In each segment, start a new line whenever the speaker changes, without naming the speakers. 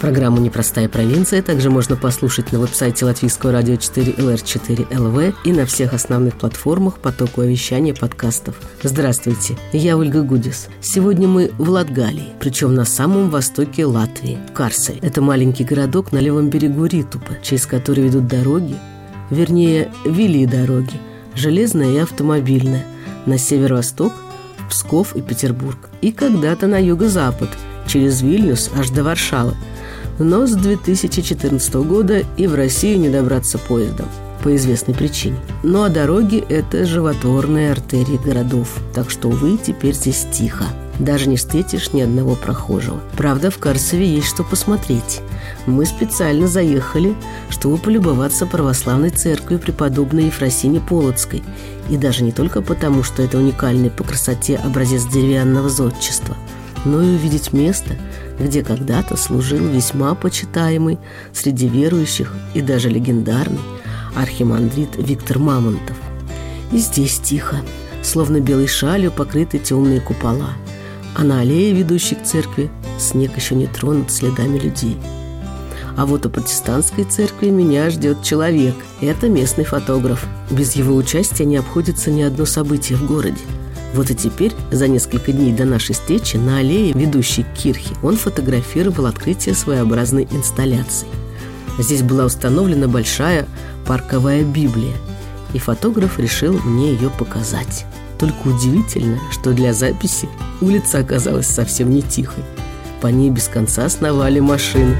Программу «Непростая провинция» также можно послушать на веб-сайте Латвийского радио 4 LR4LV и на всех основных платформах потоку вещания подкастов. Здравствуйте, я Ольга Гудис. Сегодня мы в Латгалии, причем на самом востоке Латвии, в Карсе. Это маленький городок на левом берегу Ритупа, через который ведут дороги, вернее, вели дороги, железная и автомобильная, на северо-восток, Псков и Петербург, и когда-то на юго-запад, через Вильнюс аж до Варшавы – но с 2014 года и в Россию не добраться поездом по известной причине. Ну а дороги – это животворные артерии городов, так что, увы, теперь здесь тихо. Даже не встретишь ни одного прохожего. Правда, в Карсове есть что посмотреть. Мы специально заехали, чтобы полюбоваться православной церковью преподобной Ефросине Полоцкой. И даже не только потому, что это уникальный по красоте образец деревянного зодчества – но и увидеть место, где когда-то служил весьма почитаемый среди верующих и даже легендарный архимандрит Виктор Мамонтов. И здесь тихо, словно белой шалью покрыты темные купола, а на аллее, ведущей к церкви, снег еще не тронут следами людей. А вот у протестантской церкви меня ждет человек. Это местный фотограф. Без его участия не обходится ни одно событие в городе. Вот и теперь, за несколько дней до нашей встречи, на аллее, ведущей к кирхе, он фотографировал открытие своеобразной инсталляции. Здесь была установлена большая парковая Библия, и фотограф решил мне ее показать. Только удивительно, что для записи улица оказалась совсем не тихой. По ней без конца сновали машины.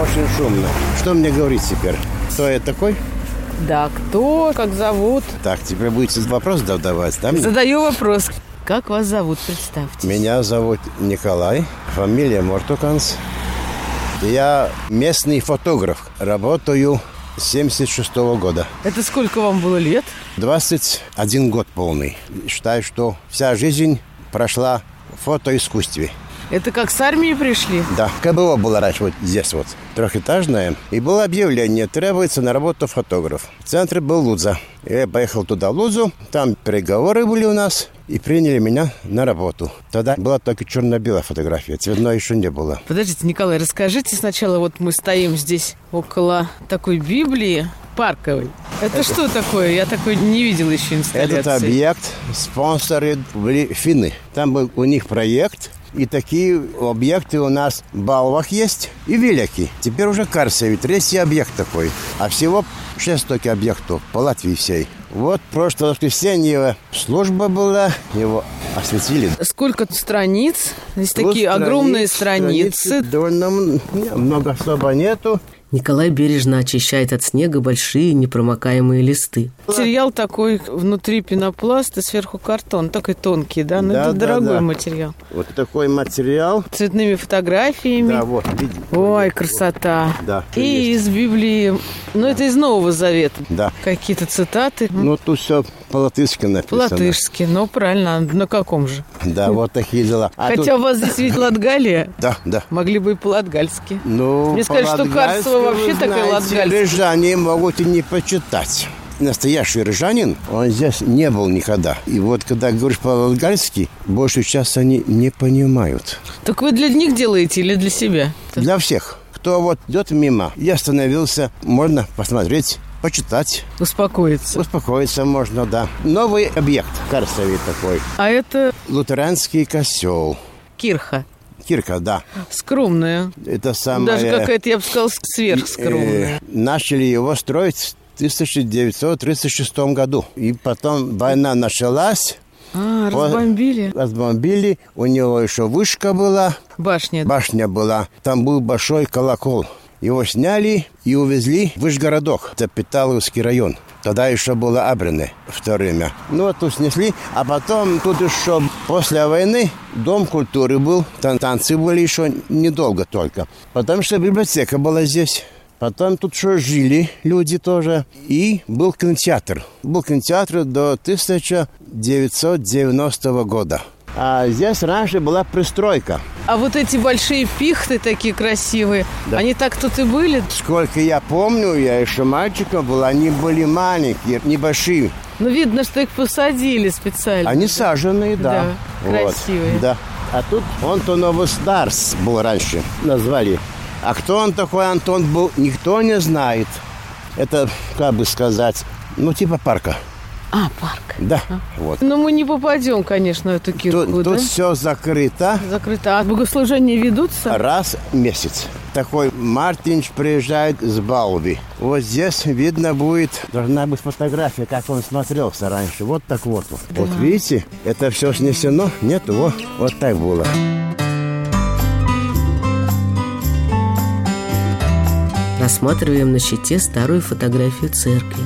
очень шумно. Что мне говорить теперь? Кто я такой?
Да, кто, как зовут?
Так, тебе будет вопрос задавать, да? мне?
Задаю вопрос. Как вас зовут, представьте.
Меня зовут Николай, фамилия Мортуканс. Я местный фотограф, работаю с 76 года.
Это сколько вам было лет?
21 год полный. Считаю, что вся жизнь прошла в фотоискусстве.
Это как с армии пришли?
Да, КБО было раньше вот здесь вот, трехэтажное. И было объявление, требуется на работу фотограф. В центре был Лудза. Я поехал туда, в Лудзу, там переговоры были у нас, и приняли меня на работу. Тогда была только черно-белая фотография, цветной еще не было.
Подождите, Николай, расскажите сначала, вот мы стоим здесь около такой Библии, парковой. Это, Это... что такое? Я такой не видел еще инсталляции.
Этот объект спонсоры были финны. Там был у них проект, и такие объекты у нас в Балвах есть и Велики. Теперь уже Карсе, ведь третий объект такой. А всего 6 таких объектов по Латвии всей. Вот прошлое воскресенье служба была, его осветили.
Сколько страниц? Здесь Тут такие страниц, огромные страницы. страницы.
Довольно много особо нету.
Николай бережно очищает от снега большие непромокаемые листы.
Материал такой внутри пенопласт и сверху картон. Такой тонкий, да? Но да, это да, дорогой да. материал.
Вот такой материал.
Цветными фотографиями.
Да, вот, видите.
Ой, вот, красота.
Вот. Да.
И есть. из Библии. Ну, это из Нового Завета.
Да.
Какие-то цитаты.
Ну, тут все по-латышски написано.
По-латышски. Ну, правильно. На каком же?
Да, вот такие дела.
А Хотя тут... у вас здесь ведь Латгалия.
Да, да.
Могли бы и по-латгальски.
Ну,
Мне сказали, что Карцево вообще знаете, такая латгальская.
Рижане могут и не почитать. Настоящий рижанин, он здесь не был никогда. И вот когда говоришь по-латгальски, большую часть они не понимают.
Так вы для них делаете или для себя?
Для всех. Кто вот идет мимо, я остановился, можно посмотреть почитать.
Успокоиться.
Успокоиться можно, да. Новый объект, Карсове такой.
А это?
Лутеранский косел.
Кирха.
Кирка, да.
Скромная.
Это самое...
Даже какая-то, я бы сказал, сверхскромная.
Э, начали его строить в 1936 году. И потом война началась. э,
А, разбомбили?
Разбомбили. У него еще вышка была.
Башня.
Башня была. Там был большой колокол. Его сняли и увезли в Вышгородок, это Питаловский район. Тогда еще было Абрины в то время. Ну, вот тут снесли, а потом тут еще после войны Дом культуры был, там танцы были еще недолго только. Потому что библиотека была здесь. Потом тут еще жили люди тоже. И был кинотеатр. Был кинотеатр до 1990 года. А здесь раньше была пристройка.
А вот эти большие пихты такие красивые,
Да.
они так тут и были?
Сколько я помню, я еще мальчиком был, они были маленькие, небольшие.
Ну, видно, что их посадили специально.
Они саженные, да.
Да, красивые.
Да. А тут Антоновус Дарс был раньше, назвали. А кто он такой, Антон, был, никто не знает. Это, как бы сказать, ну, типа парка.
А, парк.
Да, вот.
Но мы не попадем, конечно, в эту кирку,
Тут,
да?
все закрыто
Закрыто. А богослужения ведутся?
раз в месяц. Такой Мартинч приезжает с Балби. Вот здесь видно будет, должна быть фотография, как он смотрелся раньше. Вот так вот. Вот видите, это все снесено. Нет, вот, вот так было.
Рассматриваем на щите старую фотографию церкви.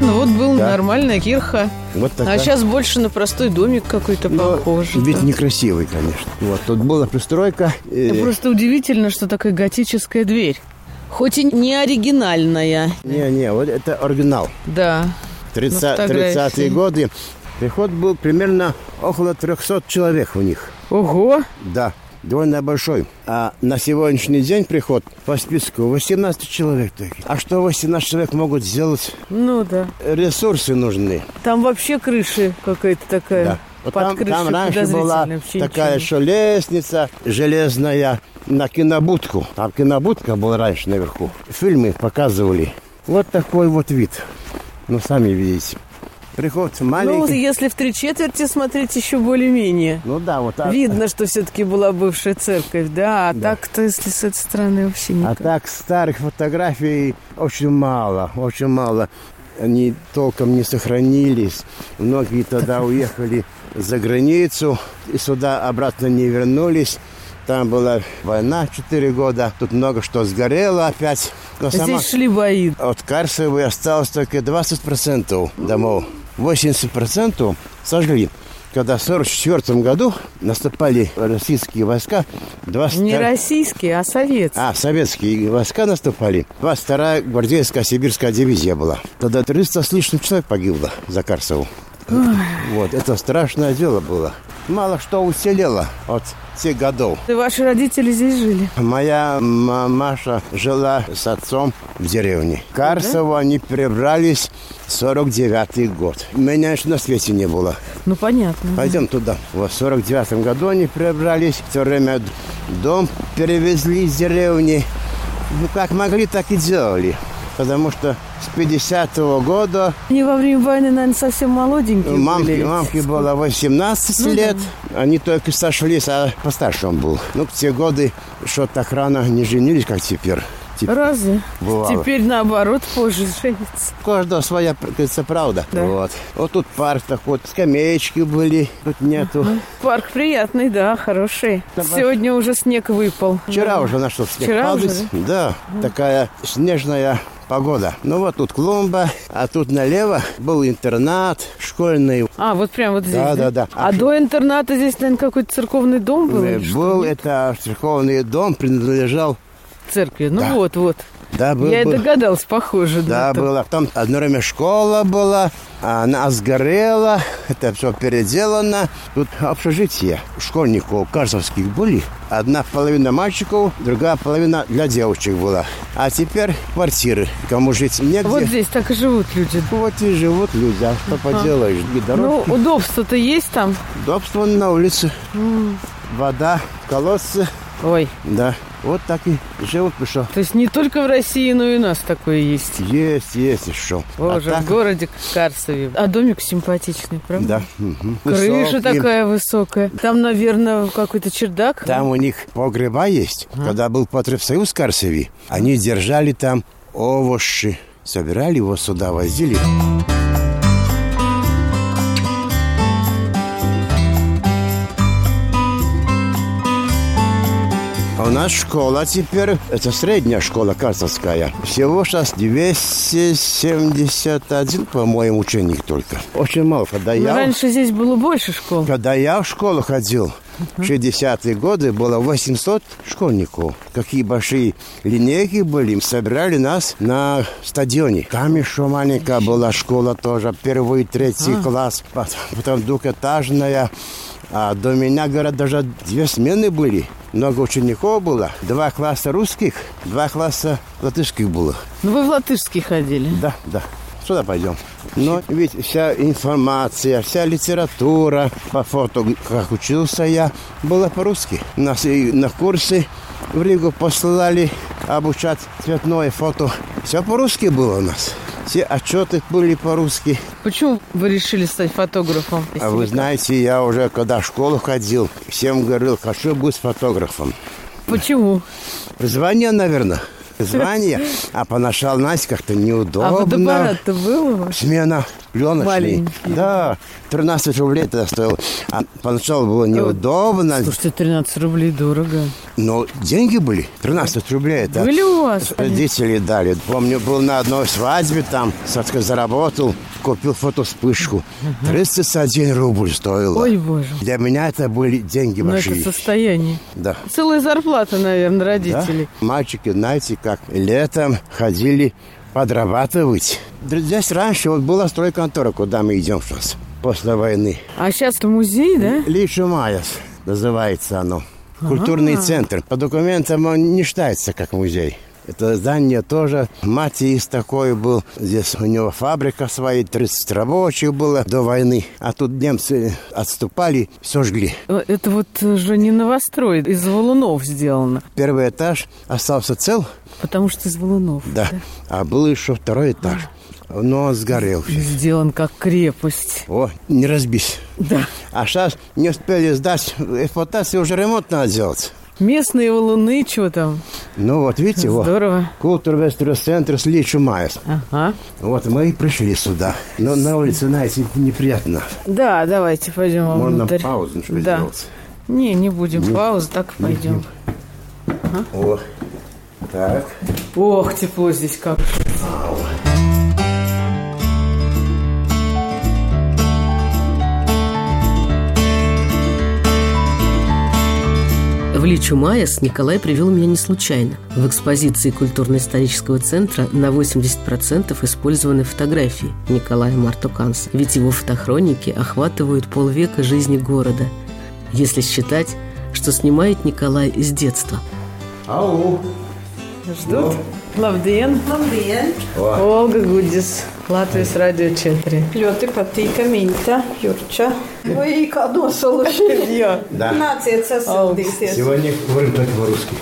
Ну, вот был
Да.
нормальная кирха.
Вот такая.
А сейчас больше на простой домик какой-то
Но
похож.
Вид
Да.
некрасивый, конечно. Вот тут была пристройка. э,
Да Просто удивительно, что такая готическая дверь. Хоть и не оригинальная.
Не, не, вот это оригинал.
Да. На
30,
фотографии.
30-е годы. Приход был примерно около 300 человек у них.
Ого!
Да, довольно большой. А на сегодняшний день приход по списку 18 человек. только. А что 18 человек могут сделать?
Ну да.
Ресурсы нужны.
Там вообще крыши какая-то такая.
Да. Вот
Э, Под
там,
крышей
там раньше
подозрительно
была
вообще
такая
ничего.
еще лестница железная на кинобудку. Там кинобудка была раньше наверху. Фильмы показывали. Вот такой вот вид. Ну, сами видите. Приход
Ну,
маленький.
если в три четверти смотреть, еще более-менее.
Ну, да, вот. а-
Видно, что все-таки была бывшая церковь, да. А так-то, если с этой стороны, вообще
А
никак.
так старых фотографий очень мало, очень мало. Они толком не сохранились. Многие тогда уехали за границу и сюда обратно не вернулись. Там была война 4 года. Тут много что сгорело опять. Но сама-
Здесь шли бои.
от Карсовой осталось только 20% домов. 80% сожгли. Когда в 1944 году наступали российские войска, 20...
Не российские, а советские.
А, советские войска наступали. 22-я гвардейская сибирская дивизия была. Тогда 300 с лишним человек погибло за Карсову. Вот, это страшное дело было. Мало что уцелело от тех годов.
И ваши родители здесь жили.
Моя мамаша жила с отцом в деревне. Карсово они перебрались 49 год. Меня еще на свете не было.
Ну, понятно.
Пойдем туда. Вот В 49 году они перебрались. Все время дом перевезли из деревни. Ну, как могли, так и делали. Потому что с 50 года
Они во время войны, наверное, совсем молоденькие
мамке,
были.
мамке было 18 лет. Они только сошлись, а постарше он был. Ну, в те годы что так рано не женились, как теперь. Теперь
Разве?
Бывало.
Теперь наоборот позже женится.
У каждого своя, как говорится, правда.
Да.
Вот. вот тут парк такой, скамеечки были, тут нету.
Парк приятный, да, хороший.
Давай.
Сегодня уже снег выпал.
Вчера
Да.
уже на что снег
Вчера
падает.
уже,
да, такая снежная погода. Ну вот тут клумба, а тут налево был интернат школьный.
А, вот прям вот здесь.
Да, да, да.
А,
А
до интерната здесь, наверное, какой-то церковный дом был?
Э,
или что?
Был это церковный дом, принадлежал.
В церкви. Ну
Да.
вот, вот.
Да, был,
Я и
был.
догадалась, похоже.
Да,
так.
было. Там одно время школа была, а она сгорела, это все переделано. Тут общежитие школьников карсовских были. Одна половина мальчиков, другая половина для девочек была. А теперь квартиры, кому жить негде.
Вот здесь так и живут люди.
Вот и живут люди, а что поделаешь? И
Ну,
дорожки.
удобство-то есть там?
Удобство на улице. Вода, колодцы.
Ой,
Да, вот так и живут, потому что
то есть не только в России, но и у нас такое есть.
есть, есть еще.
Боже,
а так,
в городе Карсове. А домик симпатичный, правда?
да. мгм.
Крыша
Высокие.
такая высокая. Там, наверное, какой-то чердак.
Там у них погреба есть. Когда был Союз Карсови, они держали там овощи. Собирали его сюда, возили. А У у нас школа теперь, это средняя школа Картовская. Всего сейчас 271, по-моему, ученик только. Очень мало. Когда
Ну,
я,
раньше здесь было больше школ.
когда я в школу ходил, в 60-е годы было 800 школьников. Какие большие линейки были. Собирали нас на стадионе. Там еще маленькая была школа тоже. Первый, третий класс. Пот- Потом двухэтажная. А до меня, говорят, даже две смены были. Много учеников было. Два класса русских, два класса латышских было.
Ну, вы в латышский ходили.
Да, да. Сюда пойдем. Но ведь вся информация, вся литература по фото, как учился я, была по-русски. Нас и на курсы в Ригу посылали обучать цветное фото. Все по-русски было у нас. Все отчеты были по-русски.
Почему вы решили стать фотографом?
А вы знаете, я уже когда в школу ходил, всем говорил, хочу быть фотографом.
Почему?
Звание, наверное. Звание. А поначалу, знаете, как-то неудобно.
А фотоаппарат-то был у вас?
Смена пленочный.
Маленький.
Да, 13 рублей это стоило. А поначалу было неудобно,
Ну, Слушайте, 13 рублей дорого.
но деньги были. 13 рублей это.
Были у вас?
Родители дали. Помню, был на одной свадьбе там, Сашка заработал, купил фотоспышку. 31 рубль стоило.
Ой, боже.
Для меня это были деньги
Ну, это
большие.
состояние.
Да.
Целая зарплата, наверное, родителей.
Да? Мальчики, знаете, как летом ходили подрабатывать. Д- Здесь раньше вот была стройконтора, куда мы идем сейчас, после войны.
А сейчас это музей, да?
Лишумаев называется оно. Культурный центр. По документам он не считается как музей. Это здание тоже. Матиис такой был. Здесь у него фабрика своя, 30 рабочих было до войны. А тут немцы отступали, все жгли.
Э, Это вот э, же не новострой, из валунов сделано.
Первый этаж остался цел,
Потому что из валунов.
да, а был еще второй этаж. Но он сгорел.
И Сделан как крепость.
О, не разбись.
Да.
А сейчас не успели сдать в эксплуатацию, уже ремонт надо делать.
Местные валуны, что там?
Ну вот, видите, вот.
Здорово.
Культурвестерс-центр Ли Чумаев.
Ага.
Вот мы и пришли сюда. Но на улице, знаете, неприятно.
Да, давайте пойдем
Можно
А внутрь.
паузу что
да.
сделать.
Не, не будем паузу, так и пойдем.
О, так.
Ох, тепло здесь как.
В Личу Майес Николай привел меня не случайно. В экспозиции культурно-исторического центра на 80% использованы фотографии Николая Мартуканса, ведь его фотохроники охватывают полвека жизни города, если считать, что снимает Николай с детства.
Ау.
Ждут. Labdien!
Labdien!
Olga Gudis, Latvijas Radio 4.
Ļoti patīka minta, Jurča. Vai kā nosaušana?
Jā,
Да.
Nāciet sasildīties.
Сегодня говорим только по-русски.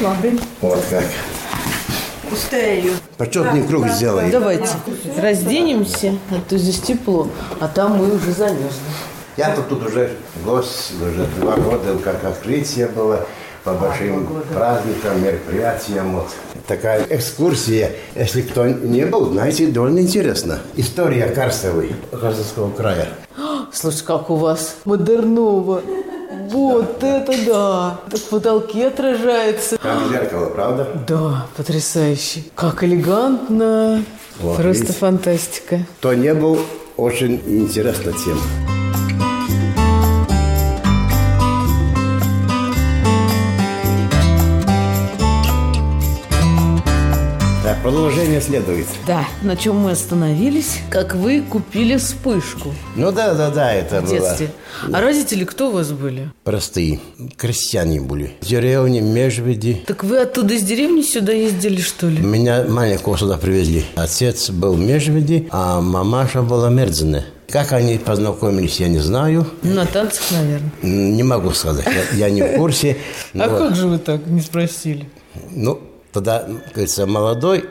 Labi.
Вот как.
Uz teju.
Почетный круг сделаем.
давайте разденемся, а то здесь тепло, а там мы уже замерзли.
Я тут, тут уже гость, уже два года, как открытие было по большим праздникам, мероприятиям. Вот. Такая экскурсия, если кто не был, знаете, довольно интересно. История Карсовой, Карсовского края.
Слушай, как у вас модерново. Вот это да! Так в потолке отражается.
Там зеркало, правда?
Да, потрясающе. Как элегантно.
Вот,
Просто
видите?
фантастика.
То не был очень интересна тема. Так, продолжение следует.
Да, на чем мы остановились, как вы купили вспышку
Ну да, да, Ну да, это
в
было.
детстве. А родители кто у вас были?
Простые. Крестьяне были. Деревни, межведи.
Так вы оттуда из деревни сюда ездили, что ли?
Меня маленького сюда привезли. Отец был межведи, а мамаша была мерзеная. Как они познакомились, я не знаю.
На танцах, наверное.
М, Не могу сказать. Я, я не в курсе.
А
но-
как же вы так не спросили?
Ну, тогда, как говорится, молодой,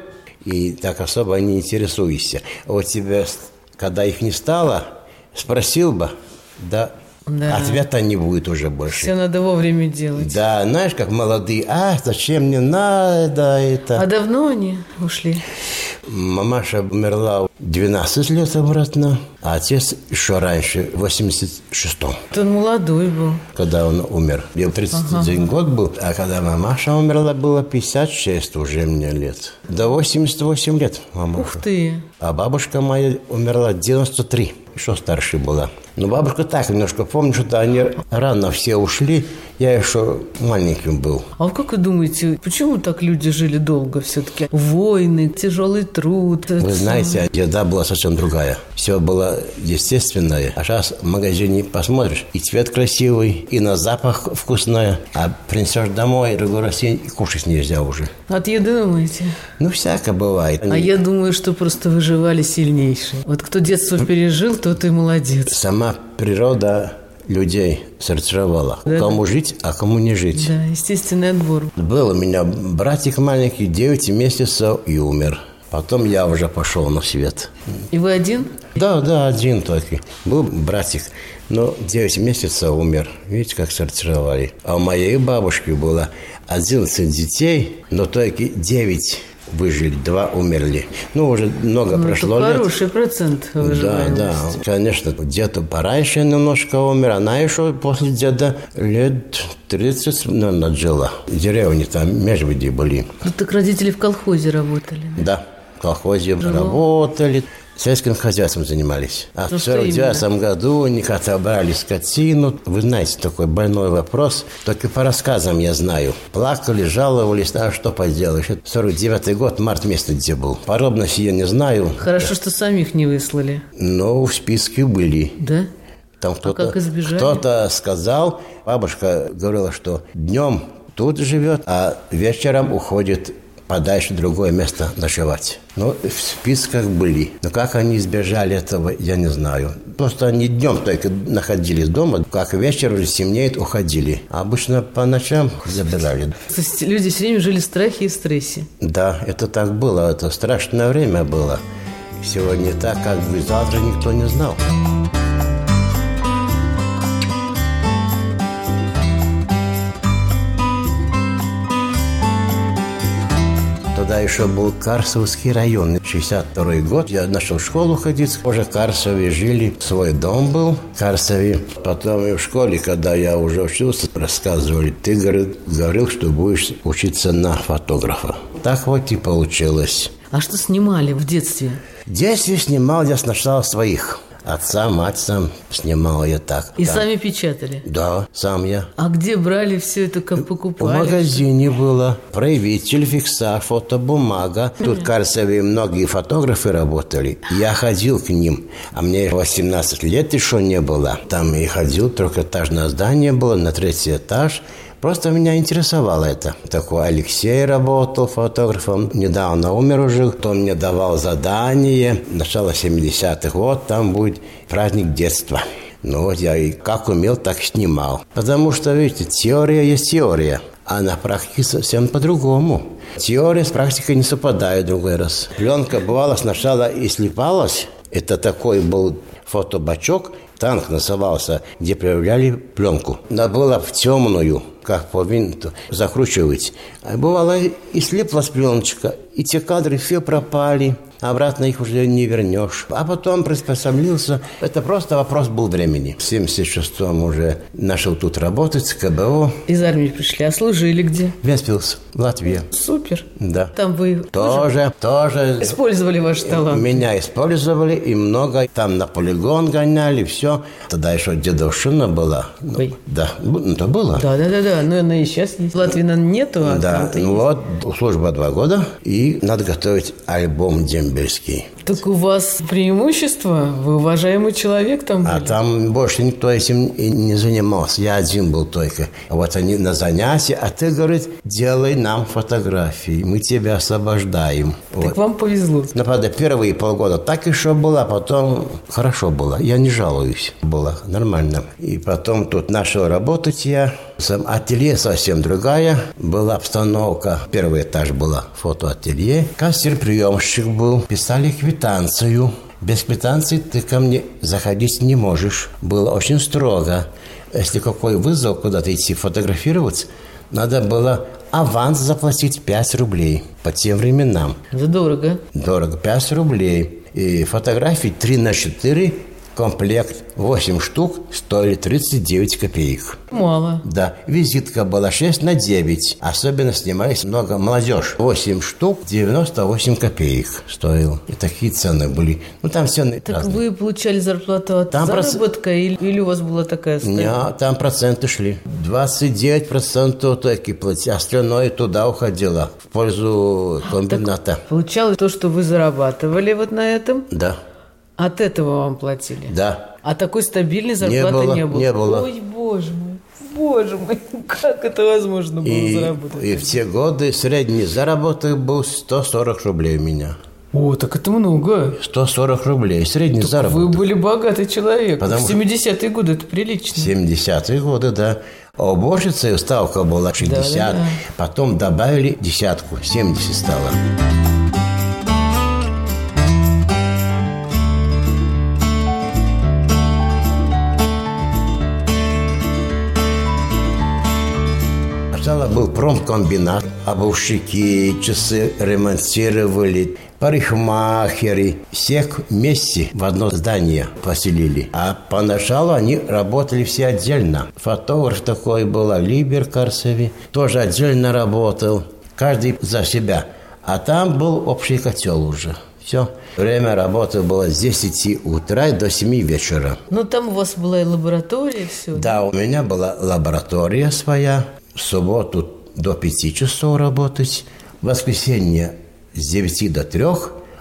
и так особо не интересуешься. А Вот тебя, с- когда их не стало, спросил бы, да,
Да.
ответа не будет уже
Все
больше.
надо вовремя делать.
Да, знаешь, как молодые, а, зачем мне надо это?
А давно они ушли?
Мамаша умерла 12 лет обратно, а отец еще раньше, в 86-м,
Он молодой был.
когда он умер. Мне 31 год был, а когда мамаша умерла, было 56 уже мне лет. До 88 лет мамаша.
Ух ты.
А бабушка моя умерла в 93, еще старше была. Но бабушка так немножко помню, что они рано все ушли, я еще маленьким был.
А вот как вы думаете, почему так люди жили долго все-таки? Войны, тяжелый труд.
Вы знаете, еда была совсем другая. Все было естественное. А сейчас в магазине посмотришь, и цвет красивый, и на запах вкусное. А принесешь домой, другой раз и и кушать нельзя уже.
От еды думаете?
Ну, всякое бывает.
А я думаю, что просто выживали сильнейшие. Вот кто детство
Ну.
пережил, тот и молодец.
Сама природа людей сортировала.
Да.
Кому жить, а кому не жить.
Да, естественный отбор.
Был у меня братик маленький, 9 месяцев и умер. Потом я уже пошел на свет.
И вы один?
Да, да, один только. Был братик, но 9 месяцев умер. Видите, как сортировали. А у моей бабушки было 11 детей, но только 9 выжили, 2 умерли. Ну, уже много
Ну, это
прошло лет.
хороший процент
Да,
выживаемости.
да, конечно, дед пораньше немножко умер, она еще после деда лет 30, наверное, жила. Деревни там, межведи были.
Ну, так родители в колхозе работали.
Да, в колхозе
Ну.
работали, сельским хозяйством занимались. А
Ну,
в
что именно?
49 году у них отобрали скотину. Вы знаете, такой больной вопрос. Только по рассказам я знаю. Плакали, жаловались, а что поделаешь. Это 49 год, март месяц где был. Подробности я не знаю,
Хорошо, что самих не выслали.
но в списке были.
Да?
Там кто-то,
как избежали?
кто-то сказал, бабушка говорила, что днем тут живет, а вечером уходит подальше в другое место ночевать. Ну, в списках были. Но как они избежали этого, я не знаю. Просто они днем только находились дома, как вечер уже темнеет, уходили. А обычно по ночам забирали.
То есть люди все время жили в страхе и стрессе.
Да, это так было, это страшное время было. Сегодня так, как бы завтра никто не знал. Тогда еще был Карсовский район, 62 год. Я начал в школу ходить. Уже в Карсове жили, свой дом был в Карсове. Потом и в школе, когда я уже учился, рассказывали, ты говорит, говорил, что будешь учиться на фотографа. Так вот и получилось.
А что снимали в детстве?
В детстве снимал я сначала своих. Отца, мать сам снимал я так.
И
Да.
сами печатали.
Да, сам я.
А где брали все это, как
В
покупали?
магазине было. Проявитель, фикса, фотобумага. Тут, кажется, и многие фотографы работали. Я ходил к ним, а мне 18 лет еще не было. Там и ходил, трехэтажное здание было, на третий этаж. Просто меня интересовало это. Такой Алексей работал фотографом. Недавно умер уже. Кто мне давал задание. Начало 70-х. Вот там будет праздник детства. Ну вот я и как умел, так снимал. Потому что, видите, теория есть теория, а на практике совсем по-другому. Теория с практикой не совпадает в другой раз. Пленка бывала сначала и слепалась. Это такой был фотобачок, танк назывался, где проявляли пленку. Надо было в темную, как по винту, закручивать. А бывало и слеплась пленочка, и те кадры все пропали обратно их уже не вернешь. А потом приспособился. Это просто вопрос был времени. В 76-м уже начал тут работать, КБО.
Из армии пришли, а служили где?
Веспилс, Латвия.
Супер.
Да.
Там вы тоже
Тоже, тоже.
использовали ваш талант.
Меня использовали и много там на полигон гоняли, все. Тогда еще дедовщина была. Ну,
Ой.
Да, ну, это было.
Да, да, да, да. Но она ну, и сейчас есть. В Латвии наверное, нету, а
Да,
там-то
ну
есть.
вот, служба два года, и надо готовить альбом дембельский.
Так у вас преимущество, вы уважаемый человек там
А
были.
там больше никто этим и не занимался. Я один был только. А Вот они на занятии, а ты, говорит, делай нам фотографии, мы тебя освобождаем. Вот.
Так вам повезло.
Ну, правда, первые полгода так еще было, а потом хорошо было. Я не жалуюсь. Было нормально. И потом тут начал работать я. Сам ателье совсем другая. Была обстановка. Первый этаж было фотоателье. Кассир-приемщик был. Писали квитанцию. Без квитанции ты ко мне заходить не можешь. Было очень строго. Если какой вызов куда-то идти фотографироваться, надо было аванс заплатить 5 рублей по тем временам.
Это дорого.
Дорого, 5 рублей. и фотографий 3 на 4 комплект 8 штук стоили 39 копеек.
Мало.
Да, визитка была 6 на 9. Особенно снимались много молодежь. 8 штук, 98 копеек стоил. И такие цены были. Ну, там цены
Так
разные.
вы получали зарплату от
Там проц-
заработка или, или у вас была такая
Не,
ставка?
там проценты шли. 29% таки платили, остальное А туда уходило в пользу
А,
комбината.
Получалось то, что вы зарабатывали вот на этом,
Да,
от этого вам платили.
да.
А такой стабильной зарплаты
было,
не было.
не было.
Ой, боже мой. Боже мой, как это возможно было
И,
Ну, заработать?
и в те годы средний заработок был 140 рублей у меня.
О, так это много.
140 рублей средний
Вы
заработок.
были богатый человек.
Потому
в
что-
70-е годы это прилично.
70-е годы, да. А уборщицы ставка была 60,
да.
потом добавили десятку, 70 стало. Сначала был промкомбинат, обувщики, часы ремонтировали, парикмахеры. Всех вместе в одно здание поселили. А поначалу они работали все отдельно. Фотограф такой был, Либер Карцеви, тоже отдельно работал. Каждый за себя. А там был общий котел уже. Все. Время работы было с 10 утра до 7 вечера.
Ну, там у вас была и лаборатория, и все.
Да, у меня была лаборатория своя. В субботу до 5 часов работать. В воскресенье с 9 до 3.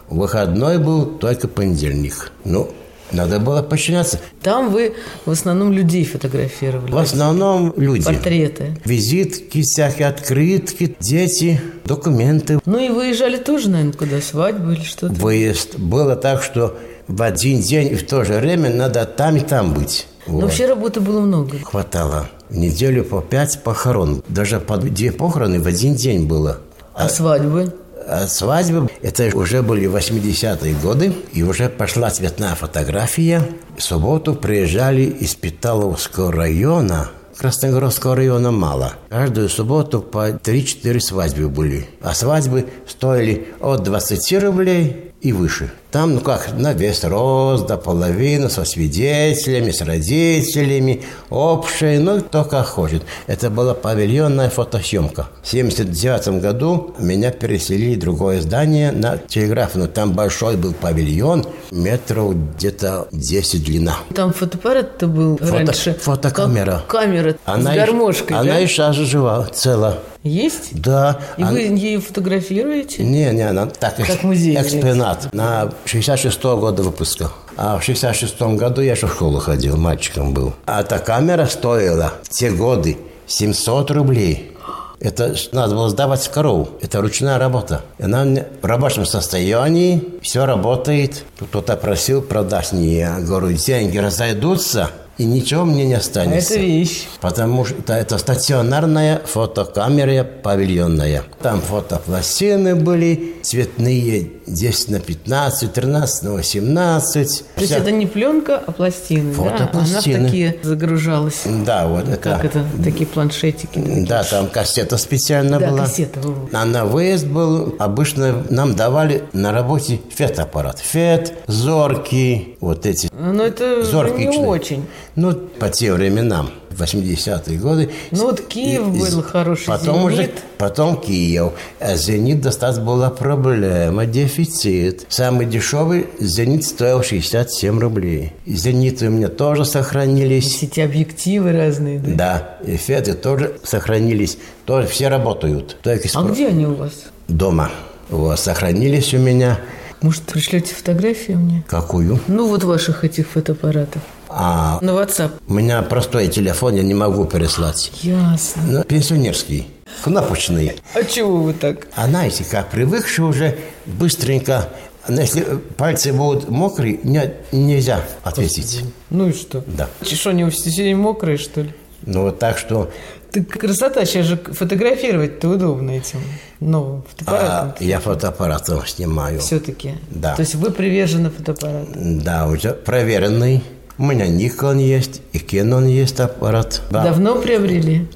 Выходной был только понедельник. Ну, надо было подчиняться.
Там вы в основном людей фотографировали.
В основном люди.
Портреты.
Визитки, всякие открытки, дети, документы.
Ну и выезжали тоже, наверное, куда свадьбы или что-то.
Выезд. Было так, что в один день и в то же время надо там и там быть.
Но
Вот.
Ну, вообще работы было много.
хватало. В неделю по пять похорон. Даже по две похороны в один день было.
А свадьбы?
А свадьбы, это уже были 80-е годы, и уже пошла цветная фотография. В субботу приезжали из Питаловского района, Красногорского района мало. Каждую субботу по 3-4 свадьбы были. А свадьбы стоили от 20 рублей и выше. Там, ну как, на вес роз, до половины, со свидетелями, с родителями, общие, ну, кто как хочет. Это была павильонная фотосъемка. В 1979 году меня переселили в другое здание на телеграфную. Там большой был павильон, метров где-то 10 длина.
Там фотоаппарат-то был
Фото-
раньше.
фотокамера.
Как камера с
и-
гармошкой,
она
да?
и сейчас жива, цела.
Есть?
Да.
И
она-
вы ее фотографируете?
Не, не, она так,
Как музей
экспонат. На 66 года выпуска. А в 66 году я еще в школу ходил, мальчиком был. А эта камера стоила в те годы 700 рублей. Это ж надо было сдавать корову. Это ручная работа. И Она мне в рабочем состоянии, все работает. Тут Кто-то просил продать мне. Я говорю, деньги разойдутся, и ничего мне не останется.
А Это вещь.
Потому что это стационарная фотокамера павильонная. Там фотопластины были цветные 10 на 15, 13 на 18.
То есть
Вся-
это не пленка, а пластины, да? Она в
Фотопластины.
такие загружалась.
Да, вот это.
Как это? Такие планшетики. такие.
Да, там кассета специально
Да,
была.
кассета, во-во.
А на выезд был, обычно нам давали на работе фет-аппарат. Фет, зорки, вот эти
Ну, это
зоркий
не
член.
очень.
Ну, по тем временам, 80-е годы.
Ну, вот Киев
И- и-
был хороший,
потом Уже,
«Зенит».
потом Киев. А «Зенит» достаточно была проблема, дефицит. Самый дешевый «Зенит» стоил 67 рублей. И «Зениты» у меня тоже сохранились.
Все эти объективы разные, да?
Да, и «Феты» тоже сохранились. Тоже все работают. Только
А
спро-
где они у вас?
Дома. Вот, сохранились у меня.
Может, пришлете фотографии мне?
Какую?
Ну, вот ваших этих фотоаппаратов.
А
На WhatsApp.
у меня простой телефон, я не могу переслать.
Ясно.
Ну, пенсионерский, кнопочный.
А чего вы так?
А знаете, как привыкший уже быстренько, ну, если пальцы будут мокрые, не- нельзя ответить.
Ну и что?
Да.
Че, Что, они у вас сегодня мокрые, что ли?
Ну вот так что
Так красота, сейчас же фотографировать-то удобно этим новым
а,
фотоаппаратом.
я фотоаппаратом снимаю.
Все-таки.
Да.
То есть вы привержены фотоаппарату.
Да, уже проверенный. У меня Nikon есть, и Canon есть аппарат. Да.
Давно приобрели?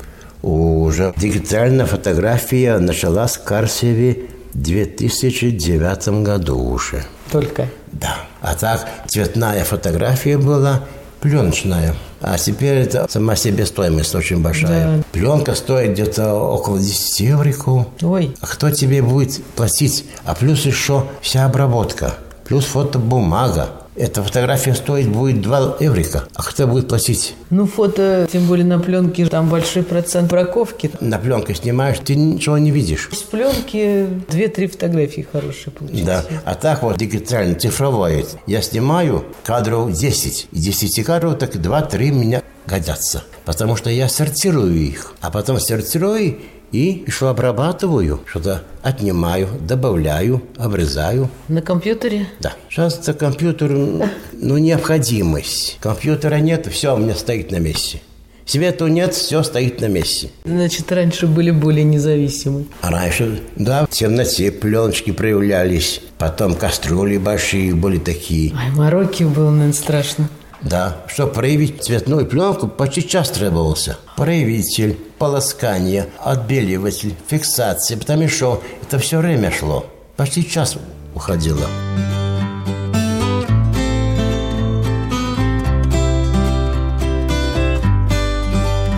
Уже дигитальная фотография началась в Карсеве в 2009 году уже.
только.
Да. А так цветная фотография была, пленочная. А теперь это сама себестоимость очень большая.
Да.
Пленка стоит где-то около 10 евриков.
Ой.
А кто тебе будет платить? А плюс еще вся обработка, плюс фотобумага. Эта фотография стоит будет 2 еврика. А кто будет платить?
Ну, фото, тем более на пленке, там большой процент браковки.
На пленке снимаешь, ты ничего не видишь.
С пленки 2-3 фотографии хорошие получились.
Да. А так вот дигитально, цифровое. Я снимаю кадров 10. И 10 кадров так 2-3 меня годятся. Потому что я сортирую их. А потом сортирую и еще обрабатываю. Что-то отнимаю, добавляю, обрезаю.
На компьютере?
Да. Сейчас это компьютер, ну, необходимость. Компьютера нет, все у меня стоит на месте. Свету нет, все стоит на месте.
Значит, раньше были более независимы.
А раньше, да, в темноте пленочки проявлялись. Потом кастрюли большие были такие.
Ай, Марокки было, наверное, страшно.
Да, чтобы проявить цветную пленку, почти час требовался. Проявитель, полоскание, отбеливатель, фиксация, потом еще. Это все время шло. Почти час уходило.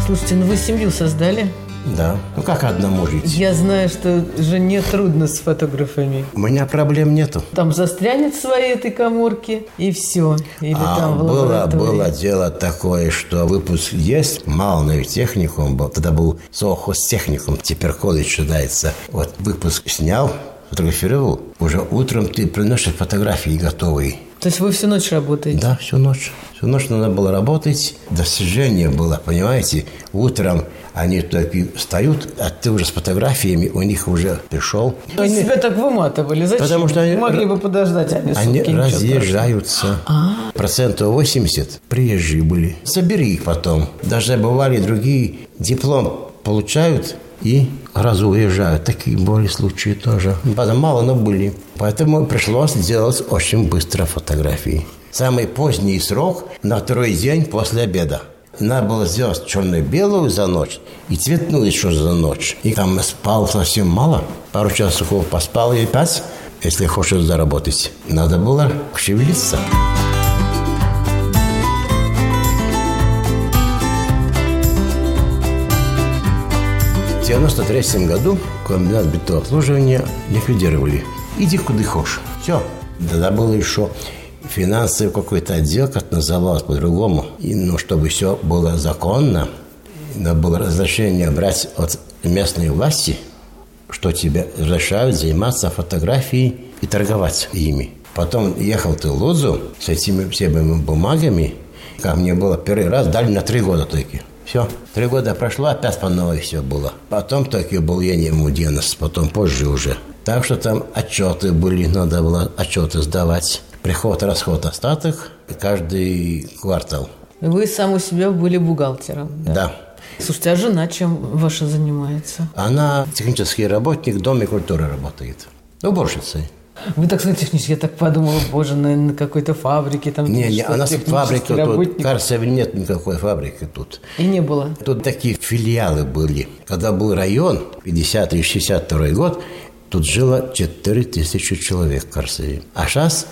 Слушайте, ну вы семью создали?
Да. Ну как одному жить?
Я знаю, что жене трудно с фотографами.
У меня проблем нету.
Там застрянет в своей этой коморке, и все. Или
А,
там в
было,
лаборатории.
было дело такое, что выпуск есть, малый техникум был, тогда был техникум, теперь колледж считается. Вот выпуск снял, фотографировал, уже утром ты приносишь фотографии готовые.
То есть вы всю ночь работаете?
Да, всю ночь. Всю ночь надо было работать. Достижение было, понимаете? Утром они только и встают, а ты уже с фотографиями, у них уже пришел.
Вы себя так выматывали. Зачем?
Потому что они-
Могли бы подождать, они,
Они
сутки ничего страшного. А.
разъезжаются. Процентов 80 приезжие были. Собери их потом. Даже бывали другие диплом получают и разу уезжают. Такие были случаи тоже. Потом мало, но были. Поэтому пришлось делать очень быстро фотографии. Самый поздний срок на второй день после обеда. Надо было сделать черно-белую за ночь и цветную еще за ночь. И там спал совсем мало. Пару часов поспал и опять если хочешь заработать, надо было шевелиться. В 93 году комбинат бетообслуживания ликвидировали. Иди куда хочешь. Все. Тогда было еще финансовый какой-то отдел, как называлось по-другому. И, ну, чтобы все было законно, надо было разрешение брать от местной власти что тебе разрешают заниматься фотографией и торговать ими. Потом ехал ты в Лузу с этими всеми бумагами. Ко мне было первый раз, дали на три года только. Все. Три года прошло, опять по новой все было. Потом только был я не Муденос, потом позже уже. Так что там отчеты были, надо было отчеты сдавать. Приход, расход, остаток каждый квартал.
Вы сам у себя были бухгалтером.
Да.
Слушайте, а жена чем ваша занимается?
Она технический работник, в Доме культуры работает. Уборщицей.
Вы так сказали технически, я так подумала, боже, наверное, на какой-то фабрике там.
Не, не,
Ну, что,
у нас
технический
фабрика тут,
работник.
кажется, нет никакой фабрики тут.
И не было.
Тут такие филиалы были. Когда был район, 50 и 62 год, тут жило 4000 человек в Корсаве. А сейчас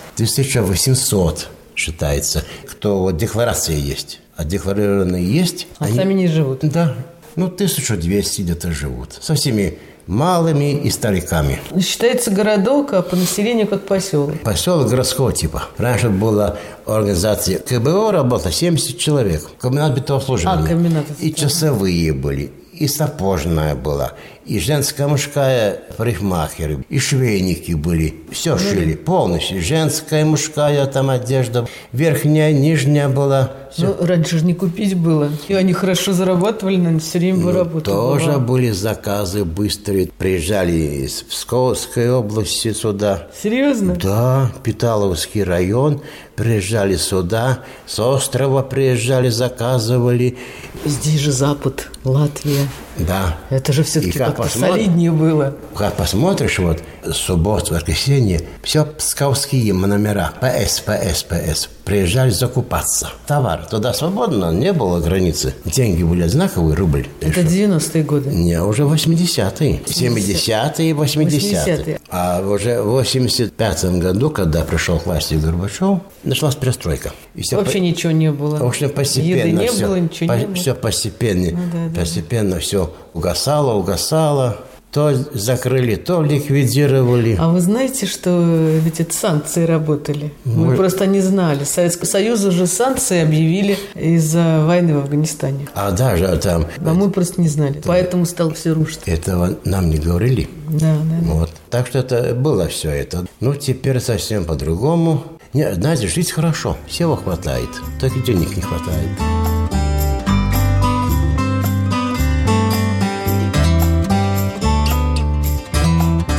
1800 считается, кто вот декларация есть. А декларированные есть.
А сами не живут.
Да, ну 1200 где-то живут. Со всеми малыми и стариками.
Считается городок, а по населению как поселок.
Поселок городского типа. Раньше была организация КБО, работа 70 человек. Комбинат бетообслуживания.
А, комбинат.
И часовые были, и сапожная была, и женская мужская парикмахеры, и швейники были. Все шили полностью. Женская, мужская там одежда, верхняя, нижняя была. Всё.
Ну, раньше же не купить было. И они хорошо зарабатывали, наверное, все время бы работа
Ну, Тоже
была.
были заказы быстрые. Приезжали из Псковской области сюда.
Серьезно?
Да, Питаловский район. Приезжали сюда, с острова приезжали, заказывали.
Здесь же Запад, Латвия.
Да.
Это же
И
все-таки
как
как-то
посмотрим.
солиднее было.
Как посмотришь, вот суббота, воскресенье, все псковские номера. ПС, ПС, ПС. приезжали закупаться. Товар. Тогда свободно, не было границы. Деньги были одинаковые, рубль.
Это
Еще.
90-е годы.
Не, уже 80-е. 70-е и 80-е.
80-е.
А уже в 85-м году, когда пришел к власти Горбачев, началась перестройка. И всё
Вообще
по-
ничего не было.
в общем, постепенно
Еды не
все,
было, ничего не было. Ну
Все постепенно, постепенно все угасало, угасало. То закрыли, то ликвидировали.
А вы знаете, что ведь это санкции работали?
Ну,
Мы просто не знали. Советский Союз уже санкции объявили из-за войны в Афганистане.
А даже там
А мы просто не знали. Поэтому стало все рушиться.
этого нам не говорили.
Да, да.
Вот. Так что это было все это. Ну, теперь совсем по-другому. Не, знаете, жить хорошо. Всего хватает. Только денег не хватает.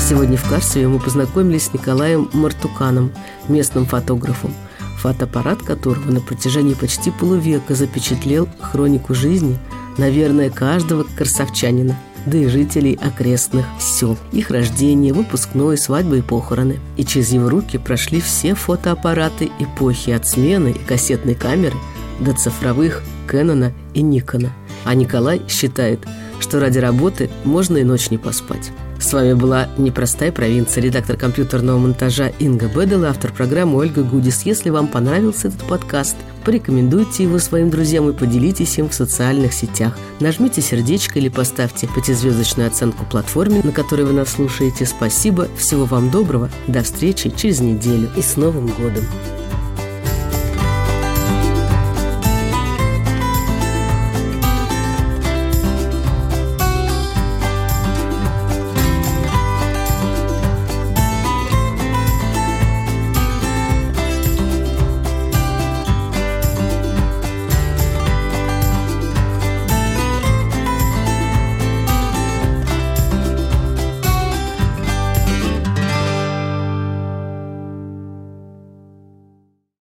Сегодня в Карсове мы познакомились с Николаем Мартуканом, местным фотографом, фотоаппарат которого на протяжении почти полувека запечатлел хронику жизни, наверное, каждого карсовчанина, да и жителей окрестных сел. Их рождение, выпускной, свадьбы и похороны. И через его руки прошли все фотоаппараты эпохи от смены и кассетной камеры до цифровых Кэнона и Никона. А Николай считает, что ради работы можно и ночь не поспать. С вами была «Непростая провинция», редактор компьютерного монтажа Инга Бедел и автор программы Ольга Гудис. Если вам понравился этот подкаст, порекомендуйте его своим друзьям и поделитесь им в социальных сетях. Нажмите сердечко или поставьте пятизвездочную оценку платформе, на которой вы нас слушаете. Спасибо, всего вам доброго, до встречи через неделю и с Новым годом!